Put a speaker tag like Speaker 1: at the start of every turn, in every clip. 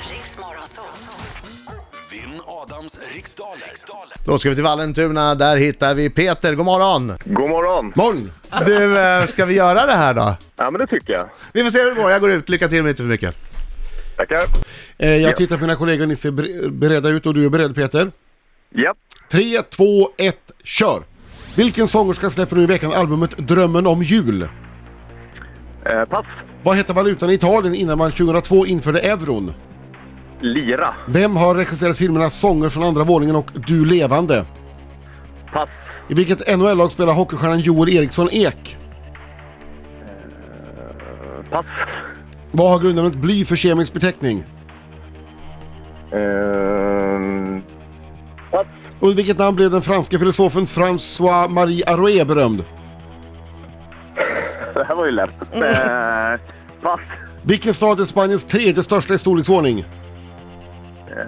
Speaker 1: Riks Morgonzoo.
Speaker 2: Vinn Adams riksdaler. riksdaler.
Speaker 3: Då ska vi till Vallentuna, där hittar vi Peter. God morgon!
Speaker 4: God morgon!
Speaker 3: Moll! Du, eh, ska vi göra det här då?
Speaker 4: Ja, men det tycker jag.
Speaker 3: Vi får se hur det går, jag går ut. Lycka till men inte för mycket.
Speaker 4: Tackar.
Speaker 5: Eh, jag tittar på mina kollegor, ni ser ber- beredda ut och du är beredd Peter.
Speaker 4: Japp.
Speaker 5: 3, 2, 1, kör! Vilken sångerska släpper nu i veckan albumet Drömmen om jul?
Speaker 4: Eh, pass.
Speaker 5: Vad hette valutan i Italien innan man 2002 införde euron?
Speaker 4: Lira.
Speaker 5: Vem har regisserat filmerna Sånger från andra våningen och Du levande?
Speaker 4: Pass.
Speaker 5: I vilket NHL-lag spelar hockeystjärnan Joel Eriksson Ek?
Speaker 4: Pass.
Speaker 5: Vad har grundämnet bly för kemisk beteckning?
Speaker 4: Ehm, pass.
Speaker 5: Under vilket namn blev den franska filosofen François-Marie Arouet berömd?
Speaker 4: Det här var ju lätt. Eh, pass.
Speaker 5: Vilken stad är Spaniens tredje största i storleksordning?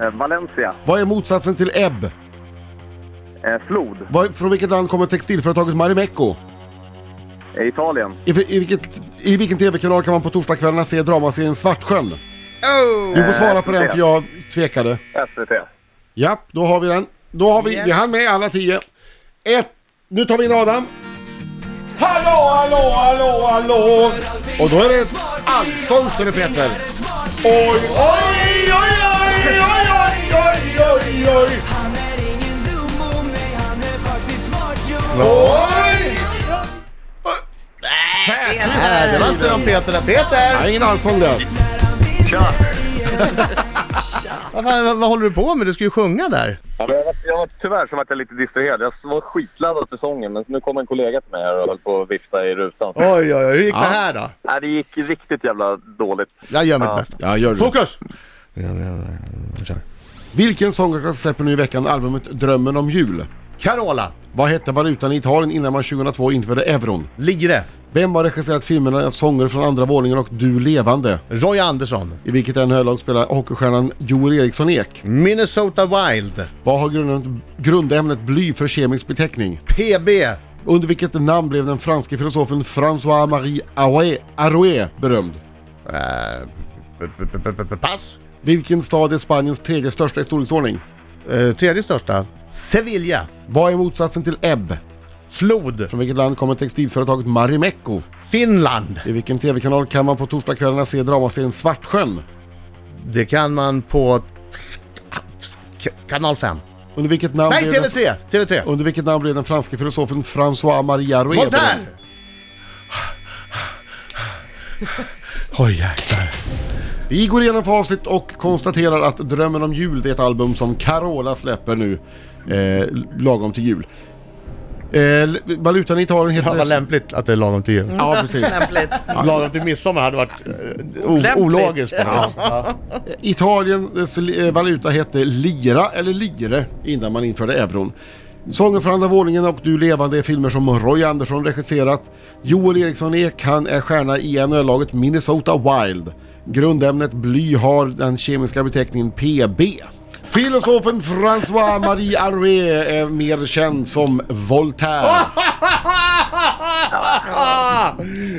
Speaker 4: Eh, Valencia.
Speaker 5: Vad är motsatsen till ebb?
Speaker 4: Eh, flod.
Speaker 5: Vad- Från vilket land kommer textilföretaget Marimekko?
Speaker 4: Eh, Italien.
Speaker 5: I, vi- i, vilket, I vilken tv-kanal kan man på torsdagskvällarna se dramaserien Svartsjön? Du får svara på den för jag tvekade.
Speaker 4: SVT.
Speaker 5: Japp, då har vi den. Då har vi, vi hann med alla tio. Ett, nu tar vi in Adam. Hallå, hallå, hallå, hallå! Och då är det allsång står det Peter. Oj, oj, oj, oj, oj, oj, oj, oj, oj!
Speaker 6: Han är ingen dum om mig, han är faktiskt smart jag
Speaker 5: Oj! Tvärtrist!
Speaker 3: Nej, det var inte någon Peter där. Peter!
Speaker 5: Nej, ingen allsång där.
Speaker 4: Tja!
Speaker 3: Vad, fan, vad, vad håller du på med? Du ska ju sjunga där.
Speaker 4: Ja, men jag var, jag var, tyvärr så vart jag lite distraherad. Jag var skitladdad för sången, men nu kom en kollega till mig här och höll på att vifta i rutan.
Speaker 3: Oj, oj, oj. Hur gick
Speaker 5: Ja.
Speaker 3: det här då?
Speaker 4: Nej, det gick riktigt jävla dåligt.
Speaker 3: Jag gör mitt
Speaker 4: Ja.
Speaker 3: bästa.
Speaker 5: Ja, gör det.
Speaker 3: Fokus!
Speaker 5: Vilken sångerska släpper nu i veckan albumet Drömmen om jul?
Speaker 3: Carola,
Speaker 5: Vad hette valutan i Italien innan man 2002 införde euron?
Speaker 3: Ligre,
Speaker 5: Vem har regisserat filmerna Sånger från andra våningen och Du levande?
Speaker 3: Roy Andersson,
Speaker 5: I vilket NHL-lag spelar hockeystjärnan Joel Eriksson Ek?
Speaker 3: Minnesota Wild,
Speaker 5: Vad har grundämnet, grundämnet bly för kemisk beteckning?
Speaker 3: PB,
Speaker 5: Under vilket namn blev den franske filosofen François-Marie Arouet- Arouet berömd?
Speaker 3: eh, p- p- p- p- pass,
Speaker 5: Vilken stad är Spaniens tredje största i storleksordning?
Speaker 3: Eh, tredje största, Sevilla,
Speaker 5: Vad är motsatsen till ebb?
Speaker 3: Flod,
Speaker 5: Från vilket land kommer textilföretaget Marimekko?
Speaker 3: Finland.
Speaker 5: I vilken tv-kanal kan man på torsdagskvällarna se dramaserien Svartsjön?
Speaker 3: Det kan man på kanal 5.
Speaker 5: Under vilket namn
Speaker 3: Nej,
Speaker 5: blev den-
Speaker 3: TV3! TV3!
Speaker 5: Under vilket namn blev den franske filosofen François Maria Arouet
Speaker 3: Voltaire!
Speaker 5: berömd?
Speaker 3: Oj jäklar.
Speaker 5: Vi går igenom facit och konstaterar att Drömmen om jul det är ett album som Carola släpper nu eh, lagom till jul. Eh, l- valutan i Italien heter...
Speaker 3: Ja, vad lämpligt att det är lagom till jul.
Speaker 5: Ja, precis.
Speaker 7: Lämpligt.
Speaker 3: Lagom till midsommar hade varit eh, o-
Speaker 7: Lämpligt.
Speaker 3: ologiskt på något vis. Ja.
Speaker 5: Italiens eh, valuta hette lira eller lire innan man införde euron. Sången från andra våningen och Du levande är filmer som Roy Andersson regisserat. Joel Eriksson Ek, han är stjärna i NHL-laget Minnesota Wild. Grundämnet bly har den kemiska beteckningen PB. Filosofen François-Marie Arouet är mer känd som Voltaire.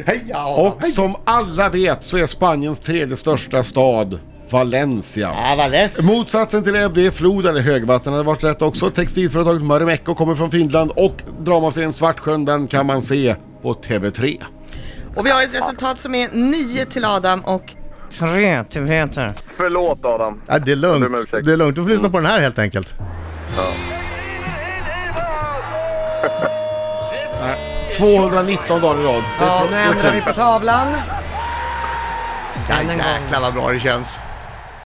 Speaker 3: Heja!
Speaker 5: Och som alla vet så är Spaniens tredje största stad Valencia.
Speaker 3: Ja, vad lätt.
Speaker 5: Motsatsen till ebb, det är flod eller högvatten hade varit rätt också. Textilföretaget Marimekko kommer från Finland och dramaserien Svartsjön den kan man se på TV3.
Speaker 7: Och vi har ett resultat som är 9 till Adam och 3 till Peter.
Speaker 4: Förlåt, Adam.
Speaker 3: Ja, det är
Speaker 4: Jag ber om
Speaker 3: lugnt.
Speaker 4: ursäkt.
Speaker 3: Det är lugnt. Du får lyssna på den här helt enkelt.
Speaker 5: Nej, 219 dagar i rad. Det är
Speaker 7: Ja,
Speaker 5: tr-
Speaker 7: nu
Speaker 5: det är
Speaker 7: ändrar vi
Speaker 5: synd.
Speaker 7: på tavlan.
Speaker 3: Ja, jäklar vad bra det känns.